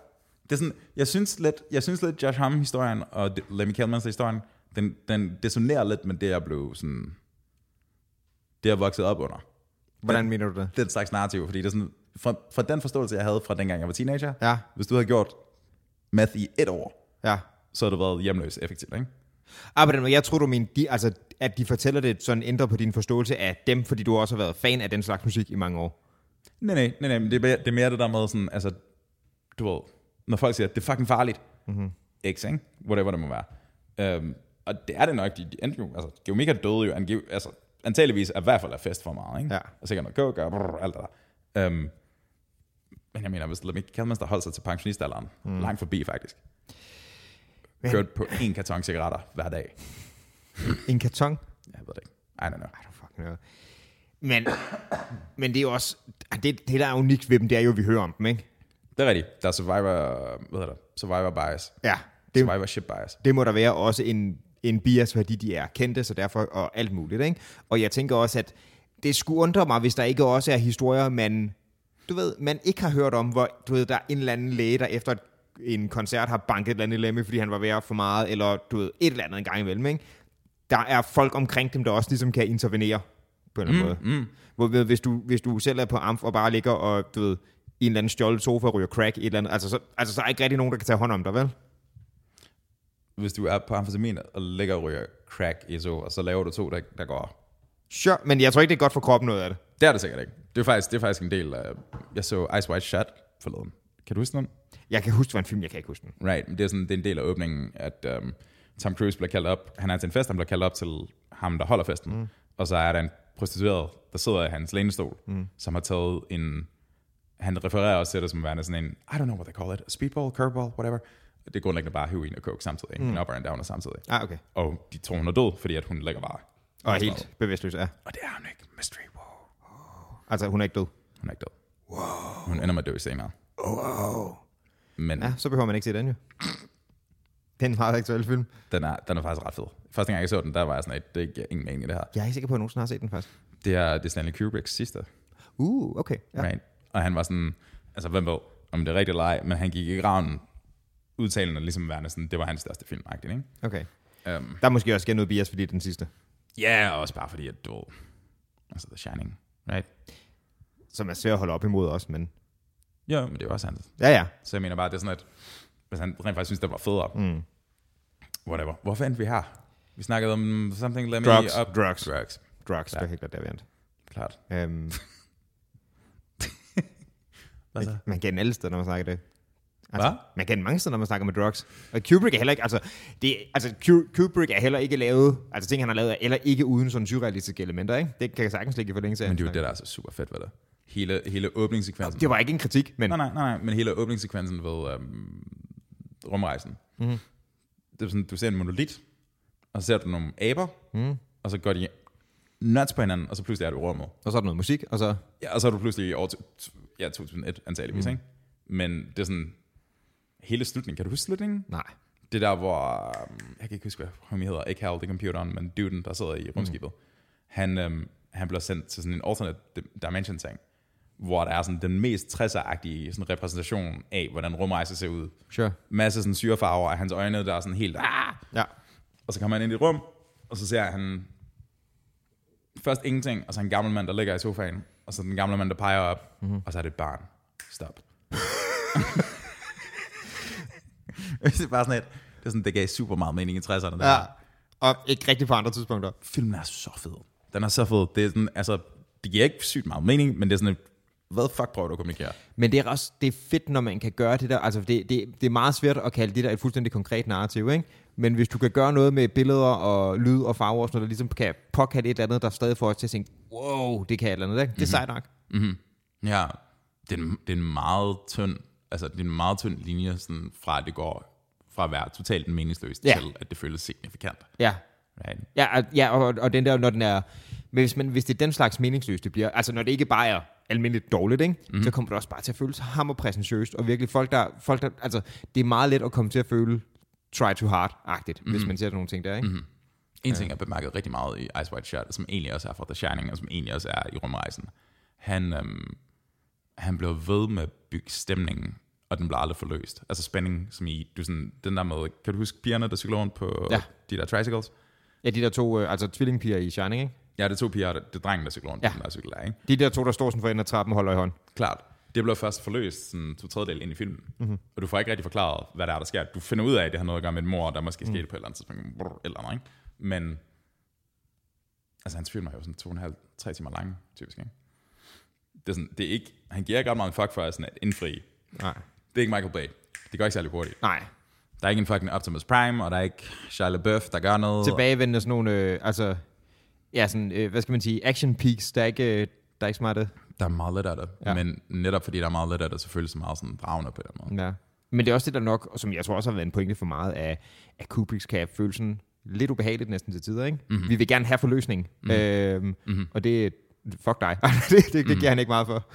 Speaker 1: Det er sådan, jeg synes lidt, jeg synes lidt Josh Homme-historien og D- Lemmy Kellmans-historien, den, den desonerer lidt med det, jeg blev sådan... Det, jeg voksede op under.
Speaker 2: Hvordan mener du det?
Speaker 1: Den slags narrativ, fordi det er sådan... Fra, fra den forståelse, jeg havde fra dengang, jeg var teenager,
Speaker 2: Ja.
Speaker 1: hvis du havde gjort math i et år,
Speaker 2: Ja.
Speaker 1: så havde du været hjemløs effektivt, ikke?
Speaker 2: Ah, på den måde, jeg tror, du mener, de, altså, at de fortæller det sådan ændrer på din forståelse af dem, fordi du også har været fan af den slags musik i mange år.
Speaker 1: Nej, nej, nej, nej, men det er, mere, det er mere det der med sådan, altså, du ved, når folk siger, at det er fucking farligt,
Speaker 2: Mhm.
Speaker 1: mm-hmm. X, ikke? Whatever det må være. Øhm, og det er det nok, de, de endte jo, altså, Geomika døde jo, angiv, altså, antageligvis er i hvert fald af fest for meget, ikke?
Speaker 2: Ja.
Speaker 1: Og sikkert noget coke og brrr, alt det der. Øhm, men jeg mener, hvis Lemmy Kalmans, der holdt sig til pensionistalderen, mm. langt forbi faktisk, kørt på en karton cigaretter hver dag.
Speaker 2: En karton?
Speaker 1: Jeg ved det ikke. I don't know.
Speaker 2: Ej, fuck noget. Men, men det er jo også, ah, det, det der er unikt ved dem, det er jo, at vi hører om dem, ikke?
Speaker 1: Det er rigtigt. Der er survivor, hvad hedder det? Survivor bias.
Speaker 2: Ja, det,
Speaker 1: Survivorship bias.
Speaker 2: det må der være også en, en bias, fordi de er kendte, så derfor, og alt muligt, ikke? Og jeg tænker også, at det skulle undre mig, hvis der ikke også er historier, man, du ved, man ikke har hørt om, hvor, du ved, der er en eller anden læge, der efter en koncert har banket et eller andet i lemme, fordi han var ved at for meget, eller du ved, et eller andet en gang imellem, ikke? Der er folk omkring dem, der også ligesom kan intervenere på en eller anden måde. Mm. Hvor, ved, hvis, du, hvis du selv er på amf og bare ligger og, du ved, i en eller anden stjålet sofa og ryger crack, et eller andet, altså, så, altså, så er der ikke rigtig nogen, der kan tage hånd om dig, vel?
Speaker 1: hvis du er på amfetamin og ligger og ryger crack i så, og så laver du to, der, der går.
Speaker 2: Sure, men jeg tror ikke, det er godt for kroppen noget af det.
Speaker 1: Det er det sikkert ikke. Det er faktisk, det er faktisk en del af... Jeg så Ice White Shut forleden. Kan du huske den?
Speaker 2: Jeg kan huske, det var en film, jeg kan ikke huske den.
Speaker 1: Right, men det er, sådan, det er en del af åbningen, at um, Tom Cruise bliver kaldt op. Han er til en fest, han bliver kaldt op til ham, der holder festen. Mm. Og så er der en prostitueret, der sidder i hans lænestol, mm. som har taget en... Han refererer også til det som værende sådan en, I don't know what they call it, speedball, curveball, whatever. Det er grundlæggende bare heroin og coke samtidig, mm. en up og en downer samtidig.
Speaker 2: Ah, okay.
Speaker 1: Og de to, hun er død, fordi at hun ligger bare
Speaker 2: Og er helt bevidstløs, ja.
Speaker 1: Og det er hun ikke. Mystery wow.
Speaker 2: Altså, hun er ikke død.
Speaker 1: Hun er ikke død. Wow. Oh, Hun ender med at dø senere.
Speaker 2: Wow.
Speaker 1: Men ja.
Speaker 2: Ja, så behøver man ikke se den jo. Det er en meget aktuel film.
Speaker 1: den, er, den er faktisk ret fed. Første gang jeg så den, der var jeg sådan, at det giver ingen mening i det her.
Speaker 2: Jeg er ikke sikker på, at jeg nogensinde har set den faktisk.
Speaker 1: Det er, det er Stanley Kubricks sidste
Speaker 2: Uh, okay. Ja.
Speaker 1: Ja. Right? Og han var sådan, altså hvem ved, om det er rigtigt eller ej, men han gik i graven udtalende ligesom værende sådan, det var hans største film, agtigt, ikke?
Speaker 2: Okay.
Speaker 1: Øhm,
Speaker 2: Der er måske også igen noget bias, fordi det er den sidste.
Speaker 1: Ja, yeah, også bare fordi, at du... Altså The Shining, right?
Speaker 2: Som er svær at holde op imod også, men...
Speaker 1: Jo, men det er jo også hans.
Speaker 2: Ja, ja.
Speaker 1: Så jeg mener bare, det er sådan, at hvis han rent faktisk synes, det var federe,
Speaker 2: Mm.
Speaker 1: whatever. Hvorfor endte vi her? Vi snakkede om something, let
Speaker 2: Drugs,
Speaker 1: me up.
Speaker 2: drugs.
Speaker 1: Drugs,
Speaker 2: Drugs,
Speaker 1: Ja.
Speaker 2: ja. det er helt klart, der vi endte.
Speaker 1: klart.
Speaker 2: Øhm,
Speaker 1: Hvad så?
Speaker 2: man kan alle steder, når man snakker det. Altså,
Speaker 1: Hvad?
Speaker 2: Man kan mange steder, når man snakker med drugs. Og Kubrick er heller ikke, altså, det, altså Ku- Kubrick er heller ikke lavet, altså ting, han har lavet, er heller ikke uden sådan surrealistiske elementer, ikke? Det kan jeg sagtens ligge for længe siden.
Speaker 1: Men det er jo det, der er så super fedt ved det. Hele, hele åbningssekvensen.
Speaker 2: det var ikke en kritik, men
Speaker 1: Nej, nej, nej, nej, men hele åbningssekvensen ved øhm, rumrejsen. Mm. Det er sådan, du ser en monolit, og så ser du nogle aber, mm. og så går de nuts på hinanden, og så pludselig er du i rummet.
Speaker 2: og så er der noget musik, og så...
Speaker 1: Ja, og så er du pludselig i år to- t- ja, 2001, antageligvis, mm. ikke? Men det er sådan, hele slutningen, kan du huske slutningen?
Speaker 2: Nej.
Speaker 1: Det der, hvor, øhm, jeg kan ikke huske, hvad han hedder, ikke Hal, det er computeren, men duden, der sidder i rumskibet, han, øhm, han bliver sendt til sådan en alternate dim- dimension-ting, hvor der er sådan den mest 60'er-agtige sådan repræsentation af, hvordan rumrejser ser ud.
Speaker 2: Sure.
Speaker 1: Masse sådan syrefarver, og hans øjne, der er sådan helt, ah!
Speaker 2: Ja.
Speaker 1: Og så kommer han ind i et rum, og så ser han først ingenting, og så en gammel mand, der ligger i sofaen, og så den gamle mand, der peger op, mm-hmm. og så er det et barn. Stop. [LAUGHS] det er bare sådan et, det, er sådan, det gav super meget mening i 60'erne. Der.
Speaker 2: ja. Og ikke rigtig på andre tidspunkter.
Speaker 1: Filmen er så fed. Den er så fed. Det, er sådan, altså, det giver ikke sygt meget mening, men det er sådan et, hvad fuck prøver du at kommunikere?
Speaker 2: Men det er også det er fedt, når man kan gøre det der. Altså, det, det, det er meget svært at kalde det der et fuldstændig konkret narrativ, ikke? Men hvis du kan gøre noget med billeder og lyd og farver og sådan noget, der ligesom kan påkalde et eller andet, der stadig får os til at tænke, wow, det kan et eller andet, ikke? Mhm. Det er sejt nok.
Speaker 1: Ja, det er, en, det er en meget tynd, altså det er en meget tynd linje, sådan fra at det går fra at være totalt meningsløst
Speaker 2: Ja.
Speaker 1: ja. til, at det føles signifikant.
Speaker 2: Ja,
Speaker 1: Right.
Speaker 2: ja, og- ja og, og den der, når den er... Men hvis, man, hvis det er den slags meningsløst, det bliver... Altså, når det ikke bare er almindeligt dårligt, ikke? Mm. så kommer det også bare til at føles hammerpræsentøst, og virkelig folk der, folk der... Altså, det er meget let at komme til at føle try too hard-agtigt, mm. hvis man ser sådan nogle ting der, ikke? Mm.
Speaker 1: En ting, jeg bemærkede rigtig meget i Ice White Shot, som egentlig også er fra The Shining, og som egentlig også er i rumrejsen, han, øhm, han blev ved med at bygge stemningen, og den blev aldrig forløst. Altså spænding, som i, du sådan, den der med, kan du huske pigerne, der cykler rundt på
Speaker 2: Ja.
Speaker 1: ja. de der tricycles?
Speaker 2: Ja, de der to, øh, altså tvillingepiger i Shining, ikke?
Speaker 1: Ja, det er to piger, det er drengen, der cykler rundt ja.
Speaker 2: Ja.
Speaker 1: på den der cykel der, ikke?
Speaker 2: De der to, der står sådan for enden af trappen og holder i hånd.
Speaker 1: Klart. Det blev først forløst sådan to tredjedel ind i filmen. Mm-hmm. Og du får ikke rigtig forklaret, hvad der er, der sker. Du finder ud af, at det har noget at gøre med en mor, der måske skete på et eller andet tidspunkt. Brr, eller noget, ikke? Men altså, hans film er jo sådan to og en halv, tre timer lang, typisk. Ikke? Det er sådan, det er ikke, han giver ikke ret meget en fuck for at sådan at indfri.
Speaker 2: Nej.
Speaker 1: Det er ikke Michael Bay. Det går ikke særlig hurtigt.
Speaker 2: Nej.
Speaker 1: Der er ikke en fucking Optimus Prime, og der er ikke Shia LaBeouf, der gør noget.
Speaker 2: Tilbagevendende sådan nogle, øh, altså, ja, sådan, øh, hvad skal man sige, action peaks, der er ikke, øh, der er ikke smart det.
Speaker 1: Der er meget lidt af det.
Speaker 2: Ja.
Speaker 1: Ja. Men netop fordi der er meget lidt af det, så føles det meget sådan dragende på den måde.
Speaker 2: Ja. Men det er også det, der nok, og som jeg tror også har været en pointe for meget, af, at Kubrick kan føle sådan lidt ubehageligt næsten til tider, ikke? Mm-hmm. Vi vil gerne have forløsning. Mm-hmm. Øhm, mm-hmm. Og det fuck dig. [LAUGHS] det, det, det giver han ikke meget for.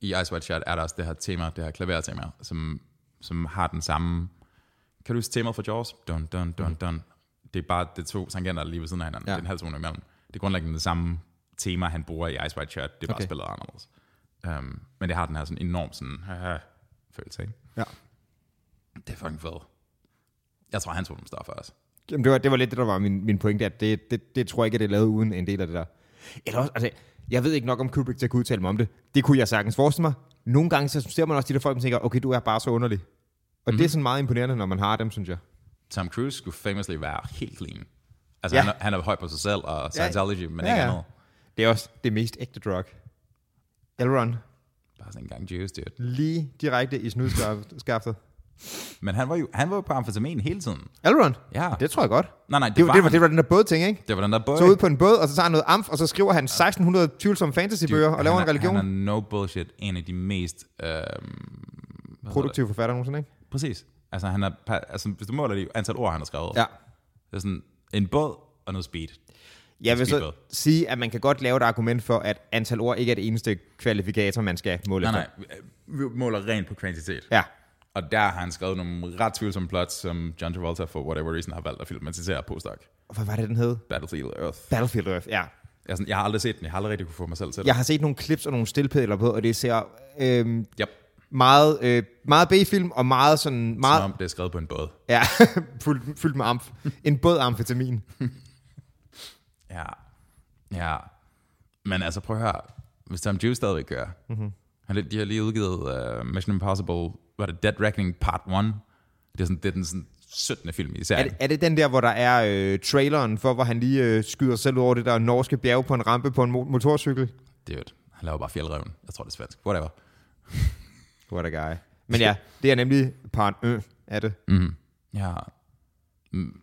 Speaker 1: i Ice White Shot er der også det her tema, det her klavertema, som, som har den samme... Kan du huske temaet fra Jaws? Dun, dun, dun, dun. Det er bare det er to tangenter lige ved siden af hinanden.
Speaker 2: Ja.
Speaker 1: Ja. Det er en halv tone imellem. Det er grundlæggende det samme tema, han bruger i Ice White Shot. Det er bare
Speaker 2: Okay.
Speaker 1: okay. spillet anderledes. Um, men det har den her sådan enorm sådan, haha, følelse, ikke?
Speaker 2: Ja.
Speaker 1: Det er fucking fedt. Jeg tror, han tog dem større for os.
Speaker 2: Jamen, det, var, det var lidt det, der var min, min pointe, at det, det, det tror jeg ikke, at det er lavet uden en del af det der. Eller også, altså, jeg ved ikke nok om Kubrick til at kunne udtale mig om det. Det kunne jeg sagtens forestille mig. Nogle gange så ser man også de der folk, der tænker, okay, du er bare så underlig. Og
Speaker 1: Mhm.
Speaker 2: mm-hmm. det er sådan meget imponerende, når man har dem, synes jeg.
Speaker 1: Tom Cruise skulle famously være helt clean. Altså,
Speaker 2: Ja.
Speaker 1: ja. han, er, han er høj på sig selv og Scientology, ja. men
Speaker 2: Ja,
Speaker 1: ikke
Speaker 2: ja.
Speaker 1: andet.
Speaker 2: Det er også det mest ægte drug. Elrond.
Speaker 1: Bare sådan en gang Jews, dude.
Speaker 2: Lige direkte
Speaker 1: [LAUGHS]
Speaker 2: i snudskaftet.
Speaker 1: Men han var jo han var jo på amfetamin hele tiden.
Speaker 2: Elrond?
Speaker 1: Ja.
Speaker 2: Det tror jeg godt.
Speaker 1: Nej, nej, det,
Speaker 2: Det var, det, var,
Speaker 1: det,
Speaker 2: det var den der bådting, ikke?
Speaker 1: det var den der bøj.
Speaker 2: Så ud på en båd, og så tager han noget amf, og så skriver han 1600 tvivlsomme fantasybøger og laver en religion.
Speaker 1: Han er no bullshit, en af de mest... Øh,
Speaker 2: Produktiv forfatter nogensinde, ikke?
Speaker 1: præcis. Altså, han er, pa- altså, hvis du måler det antal ord, han har skrevet,
Speaker 2: Ja.
Speaker 1: det er sådan en båd og noget speed.
Speaker 2: Jeg vil så
Speaker 1: Speedball.
Speaker 2: sige, at man kan godt lave et argument for, at antal ord ikke er det eneste kvalifikator, man skal måle
Speaker 1: Nej,
Speaker 2: efter.
Speaker 1: nej. Vi måler rent på kvantitet.
Speaker 2: Ja.
Speaker 1: Og der har han skrevet nogle ret tvivlsomme plots, som John Travolta for whatever reason har valgt at filmatisere postdoc.
Speaker 2: Og Hvad var det, den hed?
Speaker 1: Battlefield Earth.
Speaker 2: Battlefield Earth, ja.
Speaker 1: Jeg, er sådan, jeg har aldrig set den. Jeg har aldrig rigtig kunne få mig selv til det.
Speaker 2: Jeg har set nogle clips og nogle stillpædler på, og det ser øhm,
Speaker 1: Yep.
Speaker 2: meget, øh, meget B-film og meget sådan... Meget,
Speaker 1: Som om det er skrevet på en båd.
Speaker 2: Ja, [LAUGHS] fyldt, fyldt med amf. En båd amfetamin.
Speaker 1: Ja. Ja. Men altså prøv at høre. Hvis Tom Juice stadigvæk gør.
Speaker 2: Mhm.
Speaker 1: Mm-hmm. Han, de har lige udgivet uh, Mission Impossible. Var det Dead Reckoning Part 1? Det er, sådan, det er den sådan 17. film i
Speaker 2: Er
Speaker 1: serien.
Speaker 2: det, er det den der, hvor der er øh, traileren for, hvor han lige øh, skyder selv over det der norske bjerg på en rampe på en mo- motorcykel?
Speaker 1: Det er jo et- Han laver bare fjeldreven. Jeg tror, det er svensk. Whatever.
Speaker 2: What a guy. Men ja, det er nemlig part ø af det.
Speaker 1: Mm. Ja. Mm.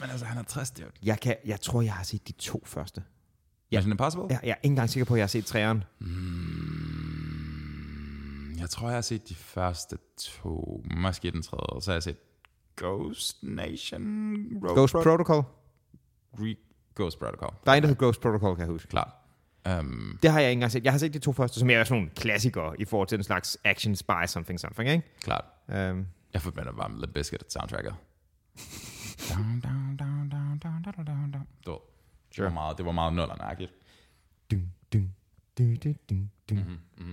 Speaker 1: Men altså, han er 60, det er jo...
Speaker 2: Jeg, kan, jeg tror, jeg har set de to første. Ja.
Speaker 1: Mission Impossible?
Speaker 2: Jeg, jeg er ikke engang sikker på, at jeg har set træeren.
Speaker 1: Mm. Jeg tror, jeg har set de første to, måske den tredje, og så har jeg set Ghost Nation, Road
Speaker 2: Ghost
Speaker 1: Pro-
Speaker 2: Protocol?
Speaker 1: Re- Ghost Protocol,
Speaker 2: Der er en, der hedder Ghost Protocol, kan jeg huske.
Speaker 1: klart. Um,
Speaker 2: Det har jeg ikke engang set. Jeg har set de to første, som er sådan nogle klassikere i forhold til den slags action spy something something, ikke?
Speaker 1: klart.
Speaker 2: Um,
Speaker 1: Jeg forbinder bare med Limp Bizkit soundtracket. down, down, down, down, down, down, down, down. Det var, det var
Speaker 2: Sure.
Speaker 1: meget, det var meget nullernærkigt.
Speaker 2: dun, dun, dun, dun, dun, dun. Mm-hmm.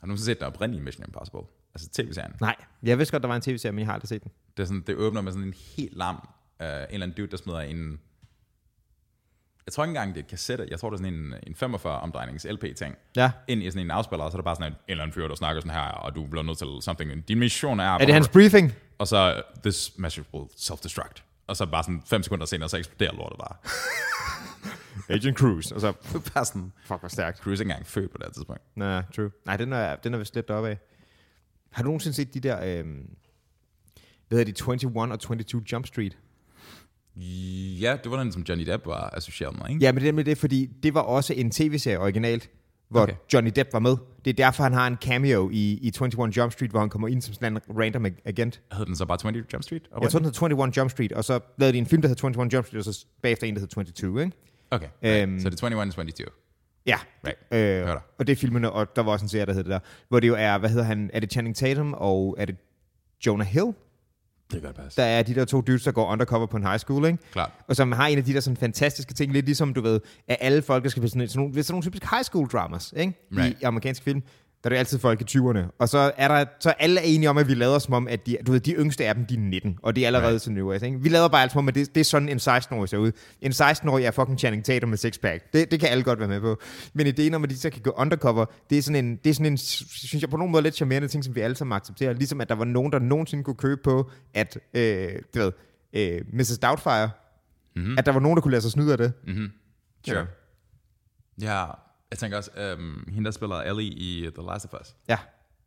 Speaker 1: Har du nogensinde set den oprindelige Mission Impossible? Altså tv-serien.
Speaker 2: Nej, jeg vidste godt, der var en tv-serie, men jeg har aldrig set den.
Speaker 1: Det, er sådan, det åbner med sådan en helt lam, øh, en eller anden dude, der smider en... Jeg tror ikke engang, det er et kassette. Jeg tror, det er sådan en, en 45-omdrejnings LP-ting.
Speaker 2: Ja.
Speaker 1: ind i sådan en afspiller, og så er der bare sådan en, en eller anden fyr, der snakker sådan her, og du bliver nødt til something. Din mission er...
Speaker 2: Er det hans briefing?
Speaker 1: Og så, this message will self-destruct. Og så bare sådan fem sekunder senere, så eksploderer lortet
Speaker 2: [LAUGHS]
Speaker 1: bare.
Speaker 2: Agent Cruise. Og så,
Speaker 1: bare sådan,
Speaker 2: fuck, hvor stærkt.
Speaker 1: Cruise er ikke engang født på det her tidspunkt.
Speaker 2: Nå, true. Nej, den er, den er vist lidt deroppe af. Har du nogensinde set de der, øh, hvad hedder de, 21 og 22 Jump Street?
Speaker 1: Ja, det var den, som Johnny Depp var associeret med, ikke?
Speaker 2: Ja, men det er nemlig det, fordi det var også en tv-serie originalt, hvor
Speaker 1: Okay.
Speaker 2: okay. Johnny Depp var med. Det er derfor, han har en cameo i, i 21 Jump Street, hvor han kommer ind som sådan en random ag- agent.
Speaker 1: Hed den så bare 20 Jump Street?
Speaker 2: Jeg tror, den hed 21 Jump Street, og så lavede de en film, der hed 21 Jump Street, og så bagefter en, der hed 22, ikke?
Speaker 1: Okay,
Speaker 2: Øhm.
Speaker 1: så det er 21 og 22.
Speaker 2: Ja,
Speaker 1: Right.
Speaker 2: Øh,
Speaker 1: Hør dig.
Speaker 2: og det er filmene, og der var også en serie, der hed det der, hvor det jo er, hvad hedder han, er det Channing Tatum, og er det Jonah Hill?
Speaker 1: Det kan godt passe.
Speaker 2: Der er de der to dudes, der går undercover på en high school, ikke?
Speaker 1: Klart.
Speaker 2: Og som har en af de der sådan fantastiske ting, lidt ligesom, du ved, at alle folk, der skal blive sådan, sådan nogle, sådan nogle typiske high school dramas, ikke?
Speaker 1: Right.
Speaker 2: I amerikanske film, der er det altid folk i 20'erne. Og så er der, så alle er enige om, at vi lader som om, at de, du ved, de yngste af dem, de er 19, og det er allerede right. sådan new ikke? Vi lader bare alt som om, at det, det er sådan en 16-årig ser ud. En 16-årig er fucking Channing Tatum med sixpack. Det, det kan alle godt være med på. Men ideen om, at de så kan gå undercover, det er sådan en, det er sådan en synes jeg på nogen måde lidt charmerende ting, som vi alle sammen accepterer. Ligesom at der var nogen, der nogensinde kunne købe på, at, øh, du ved, øh, Mrs. Doubtfire, mm. Mm-hmm. at der var nogen, der kunne lade sig snyde af det.
Speaker 1: Sure. Ja, jeg tænker også, øhm, hende der spiller Ellie i uh, The Last of Us.
Speaker 2: Ja.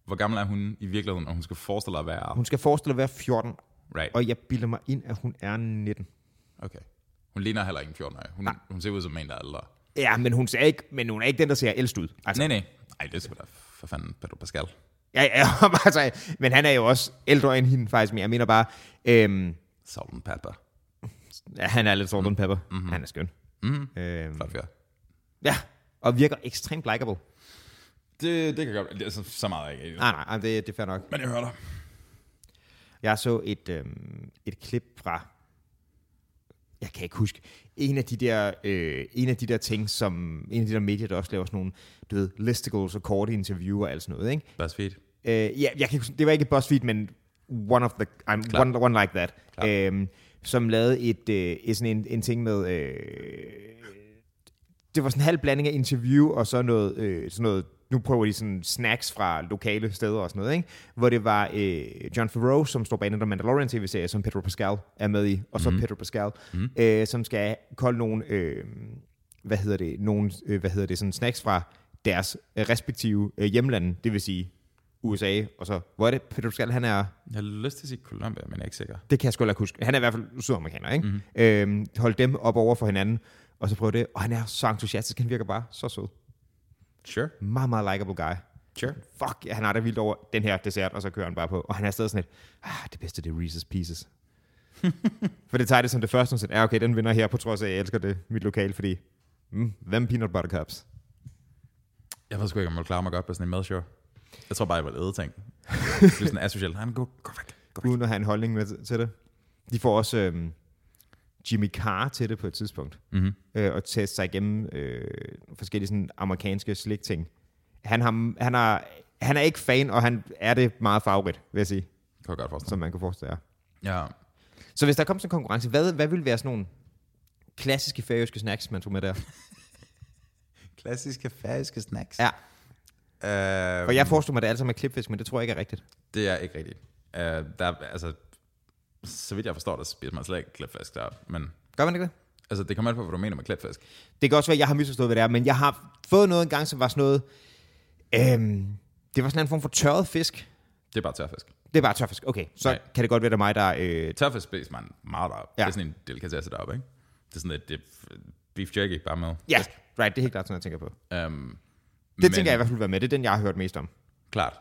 Speaker 1: Hvor gammel er hun i virkeligheden, og hun skal forestille at være...
Speaker 2: Hun skal forestille at være 14,
Speaker 1: Right.
Speaker 2: og jeg bilder mig ind, at hun er 19.
Speaker 1: Okay. Hun ligner heller ikke en 14-årig. Hun, hun ser ud som en, der er ældre.
Speaker 2: Ja, men hun, ser ikke, men hun er ikke den, der ser ældst ud. Altså,
Speaker 1: Nej, nej. Ej, det er sgu da for fanden Pedro Pascal.
Speaker 2: ja, ja, [LAUGHS] altså, men han er jo også ældre end hende faktisk, men jeg mener bare, øhm,
Speaker 1: Salt and pepper.
Speaker 2: ja, han er lidt salt and pepper. Mm-hmm. Han er skøn. Mm-hmm. Øhm,
Speaker 1: Mm, Flot fyr.
Speaker 2: ja, og virker ekstremt likable.
Speaker 1: Det, det kan godt det er så, så meget jeg ikke.
Speaker 2: Nej, nej, nej, det, det er fair nok.
Speaker 1: Men jeg hører dig.
Speaker 2: Jeg så et, øhm, et klip fra, jeg kan ikke huske, en af de der, øh, en af de der ting, som, en af de der medier, der også laver sådan nogle, du ved, listicles og korte interviewer og alt sådan noget, ikke?
Speaker 1: BuzzFeed.
Speaker 2: Øh, ja, jeg kan, ikke huske- det var ikke BuzzFeed, men one of the, I'm
Speaker 1: Klart.
Speaker 2: one, one like that,
Speaker 1: Klart.
Speaker 2: øhm, som lavede et, øh, et sådan en, en ting med, øh, det var sådan en halv blanding af interview og så noget, øh, sådan noget, nu prøver de sådan snacks fra lokale steder og sådan noget, ikke? hvor det var øh, John Favreau, som står bag den der Mandalorian tv-serie, som Pedro Pascal er med i, og så mm. Pedro Pascal, mm. øh, som skal kolde nogle, øh, hvad hedder det, nogle, øh, hvad hedder det, sådan snacks fra deres øh, respektive øh, hjemlande, det vil sige USA, og så, hvor er det, Pedro Pascal, han er,
Speaker 1: Jeg har lyst til at sige Columbia, men jeg er ikke sikker. Mhm.
Speaker 2: det kan jeg sgu heller ikke huske, han er i hvert fald sydamerikaner, ikke? Mm. Øh, holde dem op over for hinanden, og så prøve det, og han er så entusiastisk, han virker bare så sød
Speaker 1: Sure.
Speaker 2: meget, meget likable guy.
Speaker 1: Sure.
Speaker 2: Fuck, ja, han har det vildt over den her dessert, og så kører han bare på. Og han er stadig sådan et, ah, det bedste, det er Reese's Pieces. For det tager det som det første, hun sagde, ja okay, den vinder her, på trods af, at jeg elsker det, mit lokal, fordi, mm, them peanut butter cups.
Speaker 1: Jeg ved sgu ikke, om jeg klarer mig godt på sådan en madshow. Jeg tror bare, jeg vil æde [LAUGHS] ting. Det er sådan asocial. Nej, men gå, gå væk. Gå væk.
Speaker 2: Uden at have en holdning med til- til det. De får også øhm, Jimmy Carr til det på et tidspunkt,
Speaker 1: Mm-hmm.
Speaker 2: øh, og teste sig igennem øh, forskellige sådan, amerikanske slik-ting. Han, har, han, har, han er ikke fan, og han er det meget favorit, vil jeg sige,
Speaker 1: Kan jeg godt forstå.
Speaker 2: som man kunne forestille sig.
Speaker 1: Ja.
Speaker 2: Så hvis der kom sådan en konkurrence, hvad, hvad ville være sådan nogle klassiske færøske snacks, man tog med der?
Speaker 1: Klassiske færiske snacks.
Speaker 2: Ja.
Speaker 1: Øh,
Speaker 2: For jeg forestiller mig, at det er alt sammen er klipfisk, men det tror jeg ikke er rigtigt.
Speaker 1: Det er ikke rigtigt. Uh, der, er- altså, så vidt jeg forstår, der spiser man slet ikke klætfisk der. Men
Speaker 2: Gør man ikke det?
Speaker 1: altså, det kommer an på, hvad du mener med klætfisk.
Speaker 2: Det kan også være, at jeg har misforstået, hvad det er, men jeg har fået noget engang, som var sådan noget... Øhm, det var sådan en form for tørret fisk.
Speaker 1: Det er bare tørfisk.
Speaker 2: Det er bare tørfisk. Okay, så
Speaker 1: Nej.
Speaker 2: kan det godt være, det er mig, der... Øh,
Speaker 1: Tørfisk spiser man meget op.
Speaker 2: Ja.
Speaker 1: Ja. Det er sådan en delikatesse deroppe, ikke? Det er sådan lidt det er beef jerky bare med.
Speaker 2: ja, right, det er helt klart sådan, jeg tænker på. Det
Speaker 1: Um,
Speaker 2: men, tænker jeg i hvert fald vil være med. Det er den, jeg har hørt mest om.
Speaker 1: Klart.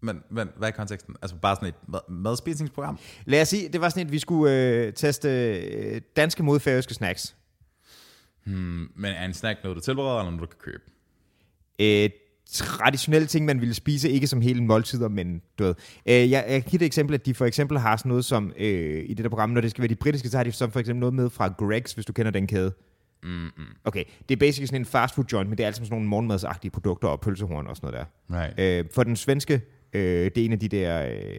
Speaker 1: Men, men hvad er konteksten? Altså bare sådan et mad- madspisingsprogram?
Speaker 2: Lad os sige, det var sådan et, vi skulle øh, teste øh, danske mod færøske snacks. Mm,
Speaker 1: Hmm, men er en snack noget, du tilbereder, eller noget, du kan købe?
Speaker 2: øh, traditionelle ting, man ville spise, ikke som hele måltider, men du ved. Øh, jeg, jeg kan give et eksempel, at de for eksempel har sådan noget som, øh, i det der program, når det skal være de britiske, så har de som for eksempel noget med fra Greg's, hvis du kender den kæde. Mm-hmm. Okay, det er basically sådan en fast food joint, men det er altså sådan nogle morgenmadsagtige produkter og pølsehorn og sådan noget
Speaker 1: Right.
Speaker 2: der. Øh, for den svenske, øh, det er en af de der... Øh,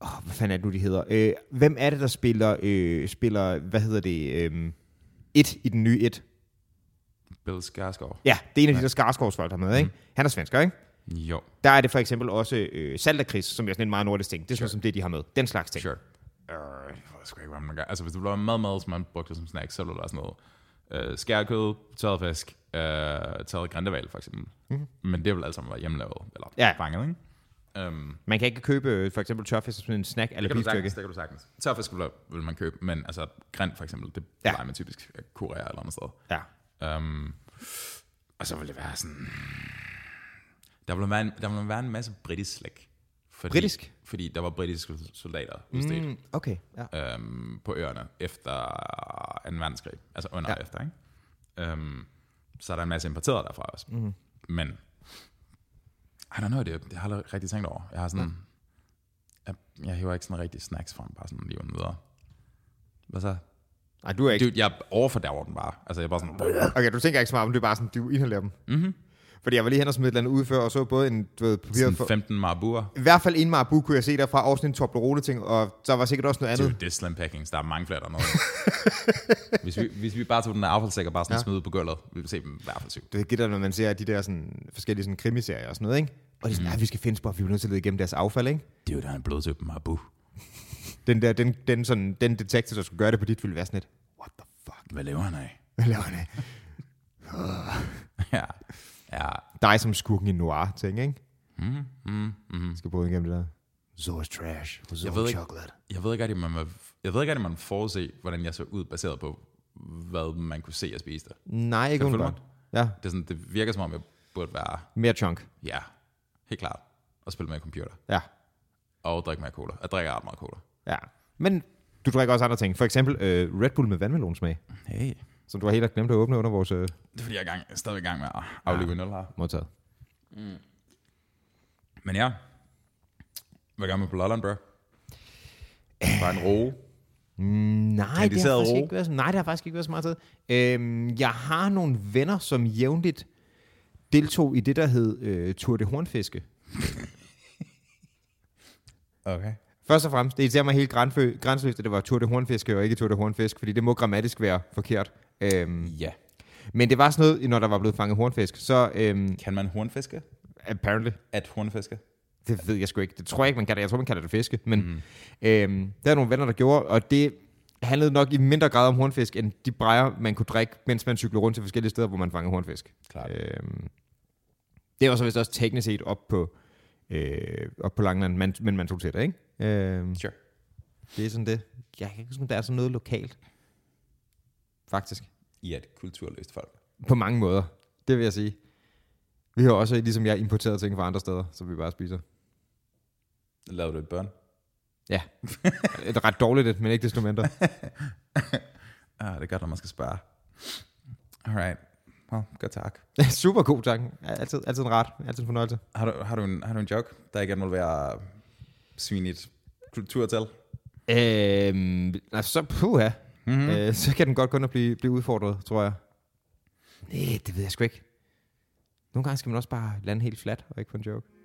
Speaker 2: oh, hvad fanden er det nu, de hedder? Øh, hvem er det, der spiller, øh, spiller hvad hedder det, øh, et i den nye et?
Speaker 1: Bill Skarsgård.
Speaker 2: Ja, Mhm. det er en af de der Skarsgårdsfolk, der er med, ikke? Han er svensker, ikke?
Speaker 1: Jo,
Speaker 2: Der er det for eksempel også øh, saltakris, som er sådan en meget nordisk ting. Det er sådan sure. som det, de har med. Den slags ting.
Speaker 1: sure. Øh, jeg ved sgu ikke, hvad man gør. Altså, hvis det blev meget mad, som man brugte som snack, så ville der sådan noget øh, skærkød, tørret fisk, øh, tørret grindeval, for eksempel. Mm-hmm. Men det vil alt sammen være hjemmelavet, eller
Speaker 2: Mhm. Ja.
Speaker 1: ja. fanget, ikke? Um,
Speaker 2: Man kan ikke købe øh, for eksempel tørfisk som sådan en snack eller
Speaker 1: det, kan du
Speaker 2: beefstykke.
Speaker 1: sagtens, det kan du sagtens. Tørret fisk vil, vil man købe, men altså grind, for eksempel, det
Speaker 2: Ja.
Speaker 1: ja. plejer man typisk at kurere eller andet sted.
Speaker 2: Ja.
Speaker 1: Um, og så ville det være sådan... Der ville være en, der ville være en masse britisk slik. Fordi,
Speaker 2: Britisk?
Speaker 1: Fordi der var britiske soldater udstedt
Speaker 2: Mm, okay. Ja.
Speaker 1: øhm, på øerne efter 2. verdenskrig. Altså under
Speaker 2: Ja.
Speaker 1: ja. og efter, ikke? Øhm, så er der en masse importeret derfra også. Mm. Men, I don't know, det, det har jeg aldrig rigtig tænkt over. Jeg har sådan, mm. jeg, jeg hiver ikke sådan rigtig snacks frem, bare sådan lige uden videre. Hvad så?
Speaker 2: Nej, du er ikke...
Speaker 1: Dude, jeg overfordærver den bare. Altså, jeg er bare sådan,
Speaker 2: Okay, du tænker ikke så meget om, det er bare sådan, du inhalerer dem. Mm-hmm. Fordi jeg var lige hen og smed et eller andet ud før, og så både en, du ved, papir... For,
Speaker 1: sådan 15 marbuer.
Speaker 2: I hvert fald en marabu kunne jeg se derfra, og sådan en Toblerone-ting, og der var sikkert også noget andet.
Speaker 1: Dude, det er slim packings. Der er mange flere dernede. hvis, vi, hvis vi bare tog den der affaldssæk og bare sådan
Speaker 2: Ja.
Speaker 1: ja. smed ud på gulvet, ville vi se dem i hvert fald syv.
Speaker 2: Du ved, det der, når man ser de der sådan, forskellige sådan, krimiserier og sådan noget, ikke? Og de er
Speaker 1: Mm.
Speaker 2: sådan, nej, vi skal finde spor, vi bliver nødt til at lede igennem deres affald, ikke?
Speaker 1: Det er jo der er en blodtøb marbu.
Speaker 2: Den der, den, den, sådan, den detektiv, der skulle gøre det på dit, ville være sådan et, what the fuck?
Speaker 1: Hvad laver han af?
Speaker 2: [LAUGHS] Hvad laver han af?
Speaker 1: [LAUGHS] ja. Ja.
Speaker 2: dig som skurken i noir ting, ikke?
Speaker 1: Mm, mm, mm.
Speaker 2: Skal bryde igennem det der. Zoe's trash. Zoe's
Speaker 1: Jeg ved ikke-
Speaker 2: chocolate.
Speaker 1: Jeg ved ikke rigtig, man, var- jeg ved ikke rigtig, man forudse, hvordan jeg så ud, baseret på, hvad man kunne se, jeg spiste.
Speaker 2: Nej, ikke
Speaker 1: Kan du følge
Speaker 2: umiddelbart. Ja,
Speaker 1: Det, er sådan, det virker som om, jeg burde være,
Speaker 2: mere chunk.
Speaker 1: ja, helt klart, at spille med computer
Speaker 2: Ja,
Speaker 1: og drikke mere cola. Jeg drikker ret meget cola.
Speaker 2: ja. Men du drikker også andre ting. For eksempel øh, Red Bull med vandmelonsmag,
Speaker 1: Hey.
Speaker 2: som du har helt har glemt at åbne under vores øh,
Speaker 1: Det er fordi, jeg er gang, stadig i gang med at aflive ja. nul her.
Speaker 2: modtaget.
Speaker 1: Men ja, hvad gør man på Lolland, bro? Bare en roe.
Speaker 2: Nej, det har
Speaker 1: Kandiseret
Speaker 2: faktisk
Speaker 1: ro.
Speaker 2: ikke været, så- nej, det har faktisk ikke været så meget tid. Øhm, jeg har nogle venner, som jævnligt deltog i det, der hed øh, Tour de Hornfiske.
Speaker 1: Okay.
Speaker 2: Først og fremmest, det irriterer mig helt grænfø- grænseløst, at det var Tour de Hornfiske og ikke Tour de Hornfisk, fordi det må grammatisk være forkert. Øhm,
Speaker 1: Ja.
Speaker 2: Men det var sådan noget, når der var blevet fanget hornfisk, så øhm,
Speaker 1: Kan man hornfiske?
Speaker 2: apparently,
Speaker 1: At hornfiske?
Speaker 2: det ved jeg sgu ikke, det tror jeg ikke, man kalder det, jeg tror, man kalder det fiske, men mm. øhm, der er nogle venner, der gjorde, og det handlede nok i mindre grad om hornfisk, end de brejer, man kunne drikke, mens man cyklede rundt til forskellige steder, hvor man fangede hornfisk.
Speaker 1: Klart.
Speaker 2: Øhm, det var så vist også teknisk set op på, øh, op på Langland, man, men man tog til det, ikke? Øhm,
Speaker 1: Sure.
Speaker 2: det er sådan det. Jeg kan ikke huske, om der er sådan noget lokalt. Faktisk.
Speaker 1: I er et kulturløst folk.
Speaker 2: På mange måder, det vil jeg sige. Vi har også, ligesom jeg, importeret ting fra andre steder, som vi bare spiser.
Speaker 1: Laver du et børn?
Speaker 2: Ja. det er ret dårligt, men ikke desto mindre. [LAUGHS]
Speaker 1: Ah, det er godt, når man skal spare. Alright. Well, godt tak.
Speaker 2: Super god tanke. Altid, altid en ret. Altid en fornøjelse.
Speaker 1: Har du, har du, en, har du en joke, der ikke involverer svinigt kulturtal?
Speaker 2: Øhm, altså, så, puha. Mm-hmm. Øh, så kan den godt kun at blive, blive udfordret, tror jeg. Nej, det ved jeg sgu ikke. Nogle gange skal man også bare lande helt flat og ikke få en joke.